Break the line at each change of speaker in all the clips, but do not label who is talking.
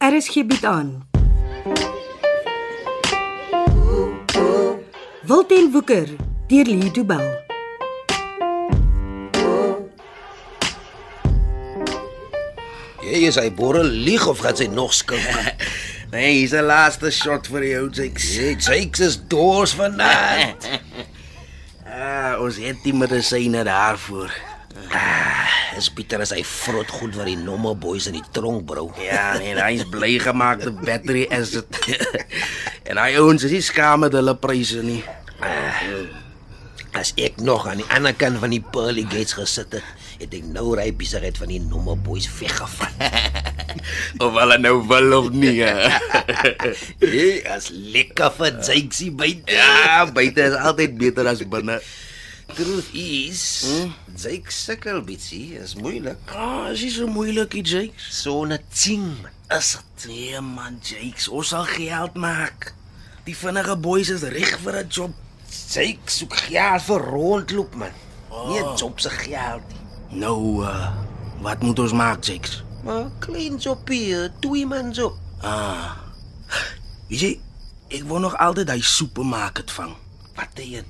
RSG bied Er aan. Wilten Woeker deur Lee Du Bell.
Jy is hy borrel lieg of gaan sy nog skink?
Nee, hier's 'n laaste shot vir jou, Jakes.
Jy sêks is dors vanaand.
Ah, ons het die medisyne daarvoor.
Ah, Is Pieter as hy vrot goed wat die nomme boys in die tronk brou.
Ja, en hy's bly gemaak te battery is dit. en hy ouens is nie skaam met hulle pryse nie.
Ah, As ek nog aan die ander kant van die pearly gates gesit het, het ek nou ry besigheid van die nomme boys weggevat.
Of hulle nou wil of nie. hè.
Jy as lekker vir Jakesy byt.
ja, buite is altyd beter as binne.
Truth is, hmm? Jake sukkel bietjie, is moeilik.
Ah, is nie so moeilik, die Jakes.
So 'n ting is dit.
Nee man, Jakes, ons sal geld maak. Die vinnige boys is reg vir 'n job.
Jake soek geld vir rondloop man. Oh. Nie 'n job se geld nie.
Nou, uh, wat moet ons maak, Jakes?
Maar 'n klein jobie, 'n twee-man job.
Ah. Weet jy, ek wou nog altyd hy supermarket vang.
Wat hy een?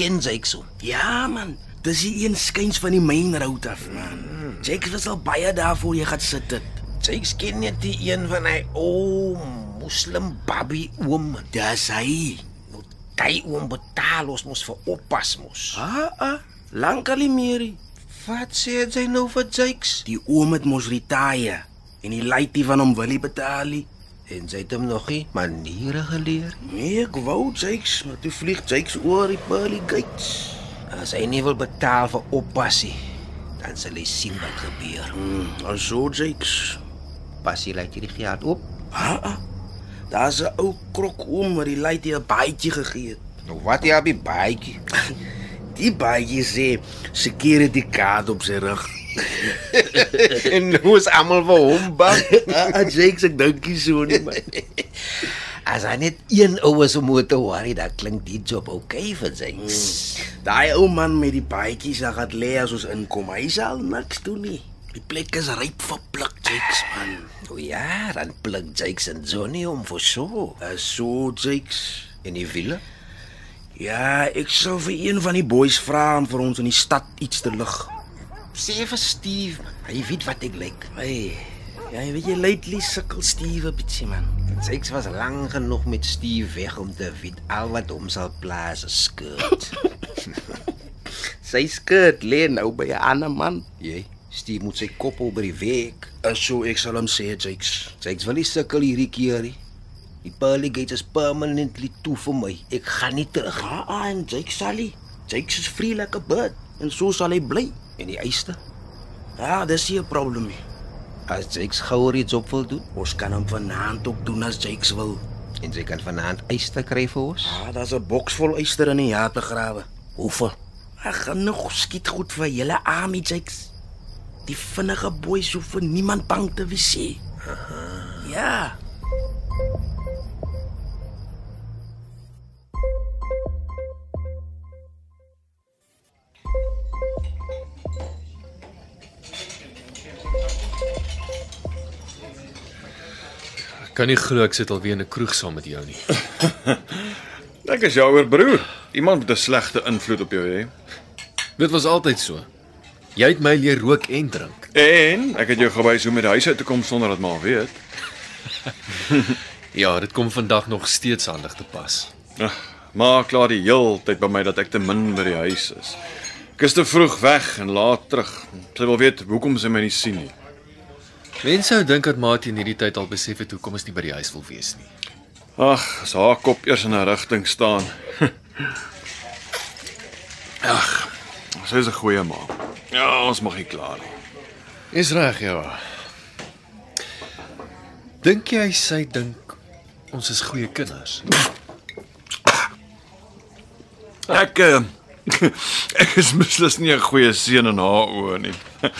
ken Jake so.
Ja man, dis die een skuins van die main road af man. Jake was al baie daarvoor jy gaan sit dit.
Jake Mm-hmm. ken net die een van hy o moslim babby oom. man.
Dis hy.
Moet hy oom betaal ons mos vir oppas mos.
Ah ah, lank al nie meer. nie.
Wat sê jy nou vir Jake?
Die oom het mos retire en die laity van hom wil nie betaal nie.
En sy het hom nog nie maniere geleer. nie.
Nee, ek wou Jakes, maar toe vlieg Jakes oor die pearly gates.
As hy nie wil betaal vir oppasie, dan sal hy sien wat gebeur.
Mm, also Jakes.
Passie laat hierdie geld op.
Ah ah. Daar's 'n ou krok oom wat die laity 'n baadjie gegee het.
Nou wat jy op die baadjie?
Die baadjie sê security kaart op sy rug.
en nou is almal vir hom bang.
Ah, Jakes, ek dink nie so nie man.
As hy net een ouwe se motor worry, dan klink die job okay vir sy. Mm.
Daai ou man met die baadjie sal gat lê as ons inkom. Hy sal niks doen nie. Die plek is ryp vir pluk, Jakes man.
O ja, dan pluk Jakes en Johnny om vir so.
Dis Uh, so, Jakes.
En die wiele?
Ja, ek sou vir een van die boys vra om vir ons in die stad iets te lig.
Sê vir Steve, man, hy weet wat ek lyk.
Hey, ja, jy weet jy lately sukkel Steve 'n bietjie man.
Jakes was lank genoeg met Steve weg om te weet al wat hom sal plaas is skuld.
Sy skirt lê nou by 'n ander man.
Jy, Steve moet sy kop oor die week.
Is Uh, so ek sal hom sê, Jakes.
Jakes wil nie sukkel hierdie keer nie. Die pearly gate is permanently toe vir my. Ek gaan nie terug nie.
Ah, ah, en Jakes sal hy. Jakes is vree like 'n bird en so sal hy bly.
En die eiste?
Ja, dis nie 'n probleer nie.
As Jakes gouer iets op wil doen
Ons kan hom vanaand op doen as Jakes wil.
en sy kan vanaand eiste kry vir ons.
Ah, daar's 'n boks vol yster in die jate grawe.
Hoeveel?
Ag, genoeg skiet goed vir julle army Jakes. Die vinnige boeis hoef vir niemand bang te wees nie. Ja.
Ek kan nie glo ek sit alweer in 'n kroeg saam met jou nie.
Ek is jouer broer. Iemand met 'n slegte invloed op jou hê.
Dit was altyd so. Jy het my leer rook en drink.
En ek het jou gewys hoe om met die huis uit te kom sonder dat ma weet.
Ja, dit kom vandag nog steeds handig te pas.
Ag, Ma kla die heeltyd by my dat ek te min by die huis is. Ek is te vroeg weg en laat terug. Sy wil weet hoekom sy my nie sien nie.
Mense sou dink dat Mati in hierdie tyd al besef het hoekom ons nie by die huis wil wees nie.
Ag, as haar kop eers in 'n rigting staan. Ag, sy is 'n goeie ma. Ja, ons mag nie kla nie.
Is reg, ja. Dink jy sy dink ons is goeie kinders?
Ek eh, ek is beslis nie 'n goeie seun in haar oë nie.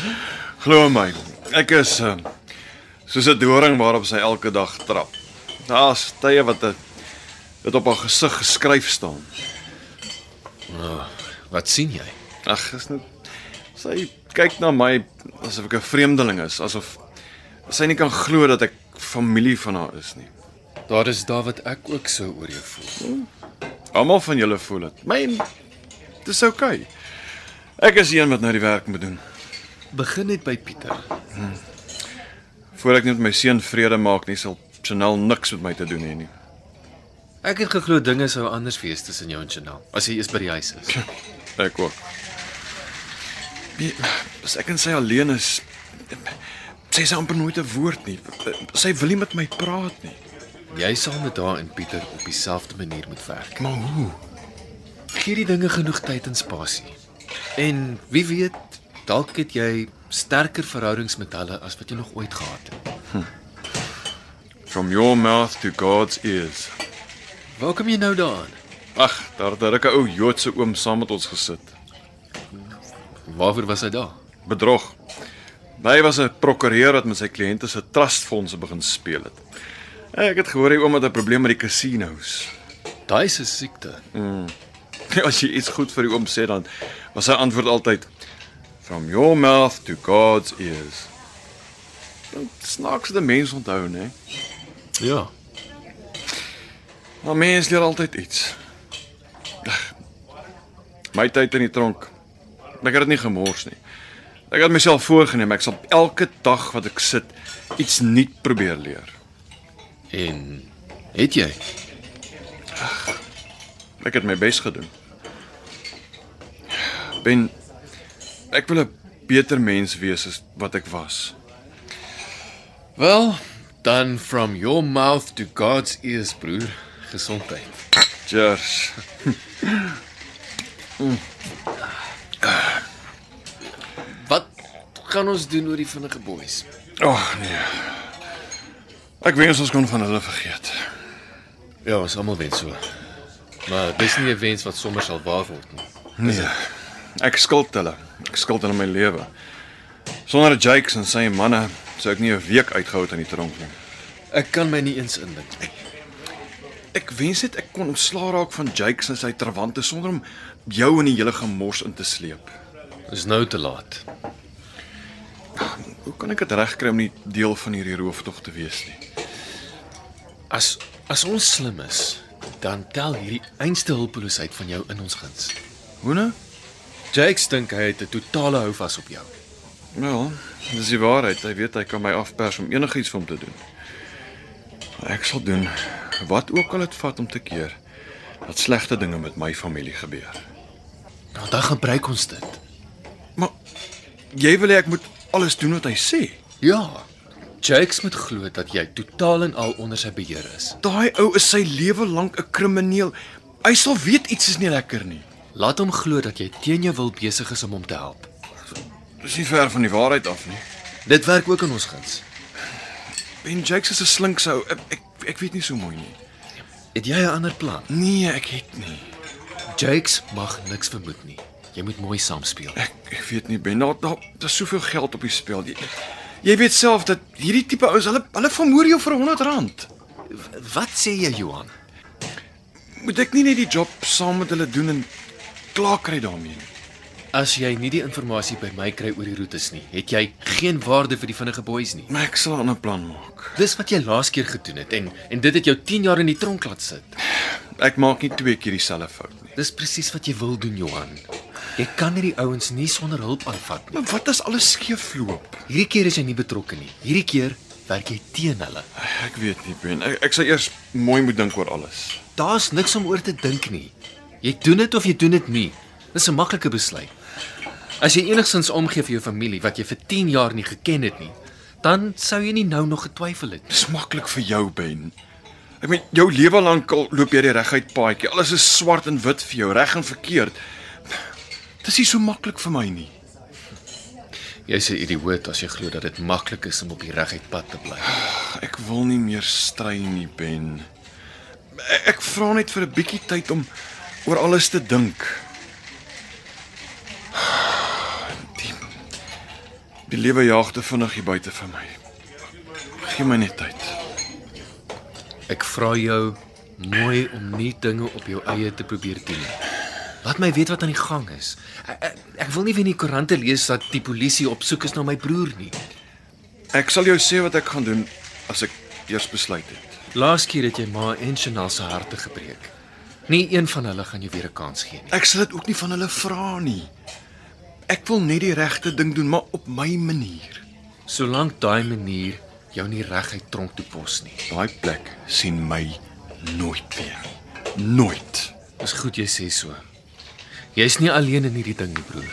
Glo my, ek is eh, soos 'n doring waarop sy elke dag trap. Daar's tye wat dit dit op haar gesig geskryf staan.
Wat sien jy?
Ag, is net sy kyk na my asof ek 'n vreemdeling is, asof sy nie kan glo dat ek familie van haar is nie.
Daar is daar wat ek ook so oor jou voel.
Almal van julle voel dit. Myn dis oukei. Okay. Ek is die een wat nou die werk moet doen.
Begin net by Pieter.
Voordat ek net met my seun vrede maak, nie sal Chanel niks met my te doen hê nie.
Ek het geglo dinge sou anders wees tussen jou en Chanel as jy eers by die huis is.
Ek ook. Wie- As ek en sy alleen is, sy sê amper nooit 'n woord nie. Sy wil nie met my praat nie.
Jy sal met haar en Pieter op dieselfde manier moet werk.
Maar hoe?
Gee die dinge genoeg tyd en spasie. En wie weet, dalk het jy sterker verhoudings met hulle as wat jy nog ooit gehad het.
From your mouth to God's ears.
Waar kom jy nou daaraan?
Ag, daar het 'n rukke ou Joodse oom saam met ons gesit.
Waarvoor was hy daar?
Bedrog. Hy was 'n prokureur wat met sy kliënte se trustfondse begin speel het. Ek het gehoor hy oom het 'n probleem met die casinos.
Daai is 'n siekte.
As jy iets goed vir die oom sê dan was sy antwoord altyd from your mouth to God's ears. Dit snaaks dat mense onthou, né?
Ja.
Maar mense leer altyd iets. Ag, My tyd in die tronk. Ek het dit nie gemors nie. Ek het myself voorgenem ek sal elke dag wat ek sit iets nuut probeer leer.
En het jy?
Ek het my bes gedoen. Ben ek wil 'n beter mens wees as wat ek was.
Wel, dan from your mouth to God's ears, broer. Gesondheid.
Cheers.
Wat gaan ons doen oor die vinnige boeis?
Ag nee. Ek wens ons kon van hulle vergeet.
Ja, ons almal wens so. Maar dis nie 'n wens wat sommer sal waar word nie.
Nee. Ek skuld hulle. Ek skuld hulle my lewe. Sonder Jakes en sy manne sou ek nie 'n week uitgehou het in die tronk nie.
Ek kan my nie eens indink.
Ek wens net ek kon ontslaa raak van Jakes en sy trawante sonder om jou in die hele gemors in te sleep.
Dis nou te laat.
Hoe kan ek dit regkry om nie deel van hierdie rooftog te wees nie?
As as ons slim is, dan tel hierdie einste hulpeloosheid van jou in ons guns.
Hoe nou?
Jakes dink hy het 'n totale houvas op jou.
Wel, dis die waarheid. Hy weet hy kan my afpers om enigiets vir hom te doen. Maar Ek sal doen wat ook al dit vat om te keer dat slegte dinge met my familie gebeur.
Nou dan gebruik ons dit.
Maar jy wil hê ek moet alles doen wat hy sê.
Ja. Jakes moet glo dat jy totaal en al onder sy beheer is.
Daai ou is sy lewe lank 'n krimineel. Hy sal weet iets is nie lekker nie.
Laat hom glo dat jy teen jou wil besig is om hom te help.
Dis nie ver van die waarheid af nie.
Dit werk ook in ons guns.
Ben Jakes is 'n slinkse ou. Ek, ek ek weet nie so mooi nie.
Het jy 'n ander plan?
Nee, ek het nie.
Jakes mag niks vermoed nie. Jy moet mooi saamspeel.
Ek ek weet nie Ben, daar daar daar's soveel geld op die spel. Jy, jy weet self dat hierdie tipe ouens hulle hulle vermoor jou vir 100 rand.
Wat sê jy, Johan?
Moet ek nie net die job saam met hulle doen en klaar kry daarmee nie.
As jy nie die inligting by my kry oor die roetes nie, het jy geen waarde vir die vinnige boeis nie.
Maar ek sal 'n ander plan maak.
Dis wat jy laas keer gedoen het en en dit het jou 10 jaar in die tronk laat sit.
Ek maak nie twee keer dieselfde fout nie.
Dis presies wat jy wil doen, Johan. Jy kan hierdie ouens nie sonder hulp aanvat nie.
Maar wat as alles skeefloop?
Hierdie keer is jy nie betrokke nie. Hierdie keer werk jy teen hulle.
Ek weet nie, Ben. Ek, ek sal eers mooi moet dink oor alles.
Daar's niks om oor te dink nie. Jy doen dit of jy doen dit nie. Dis 'n maklike besluit. As jy enigstens omgee vir jou familie wat jy vir 10 jaar nie geken het nie, dan sou jy nie nou nog getwyfel het.
Dis maklik vir jou, Ben. Ek meen, jou lewe lank al loop jy die reguit paadjie. Alles is swart en wit vir jou, reg en verkeerd. Dis nie so maklik vir my nie.
Jy's 'n idioot as jy glo dat dit maklik is om op die reguit pad te bly.
Ek wil nie meer stry nie, Ben. Ek- Ek vra net vir 'n bietjie tyd om oor alles te dink. Die, die lewe jaag te vinnig hier buite vir my. Gee my net tyd.
Ek vra jou mooi om nie dinge op jou eie te probeer doen nie. Laat my weet wat aan die gang is. Ek, ek, ek wil nie weer in die koerante lees dat die polisie op soek is na my broer nie.
Ek sal jou sê wat ek gaan doen as ek eers besluit het.
Laas keer het jy ma en Chanel se harte gebreek. Nie een van hulle gaan jou weer 'n kans gee nie.
Ek sal dit ook nie van hulle vra nie. Ek wil net die regte ding doen, maar op my manier.
Solank daai manier jou nie reguit tronk toe pos nie.
Daai plek sien my nooit weer. Nooit.
Dis goed jy sê so. Jy's nie alleen in hierdie ding nie, broer.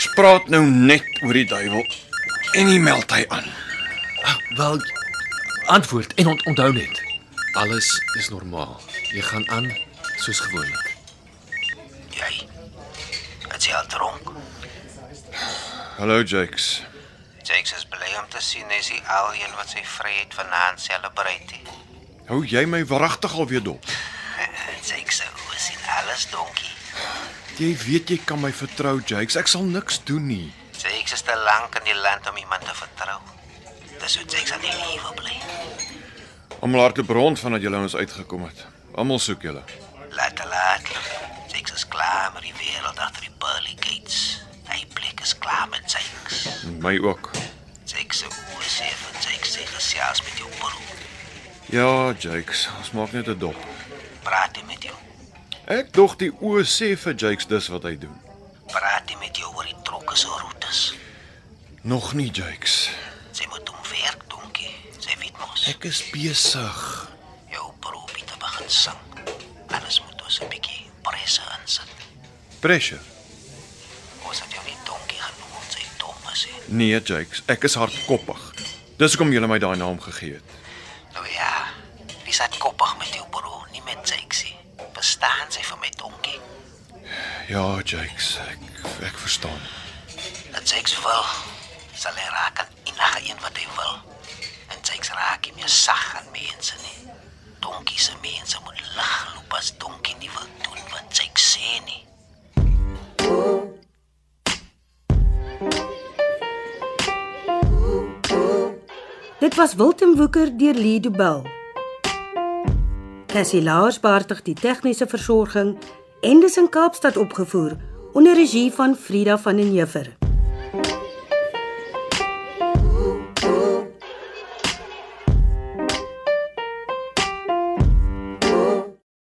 Ons praat nou net oor die duiwel en hy meld hy aan.
Wel antwoord en ont onthou net. Alles is normaal. Jy gaan aan soos gewoonlik.
Jy. Wat sê al dronk?
Hallo Jakes.
Jakes is bly om te sien dis die al een wat sy vryheid vanaand selebreit het.
Hou jy my wragtig alweer dop?
Jakes se oë sien alles donkie.
Jy weet jy kan my vertrou, Jakes. Ek sal niks doen nie.
Jakes is te lank in die land om iemand te vertrou. Dis hoe Jakes aan die lewe bly.
Almal hardloop rond vandat julle ons uitgekom het. Almal soek julle.
Laat te laat. Jakes is klaar met die wêreld agter die pearly gates. Hy plek is klaar met Jakes.
My ook.
Jakes se oë sê vir Jakes sy gesels met jou broer.
Ja, Jakes, ons maak net 'n dop.
Praat hy met jou.
Ek dog die oë sê vir Jakes dis wat hy doen.
Praat hy met jou oor die trokke se roetes.
Nog nie, Jakes.
Sy moet hom werk donkie. Sy weet mos.
Ek is besig.
Jou probeer te begin sing. Alles moet ons 'n bietjie presse insit.
Pressure.
Ons het jou nie donkie genoem om sy dom te sê.
Nee, Jakes, ek is hardkoppig. Dis hoekom julle my daai naam gegee het.
Nou ja, wie sat koppig met jou bro, nie met Sexy. Bestaan sy vir my donkie.
Ja, Jakes, ek ek verstaan.
Dat Sex wil, sal hy raak aan enige een wat hy wil. En Sex raak nie meer sag aan mense nie. Donkie se mense moet lig loop as donkie nie wil doen wat Sex sê nie.
Dit was Wilten Woeker deur Lido Bell. Cassie Lars beheerdig die tegniese versorging en dis in Kaapstad opgevoer onder regie van Frida van den Heever.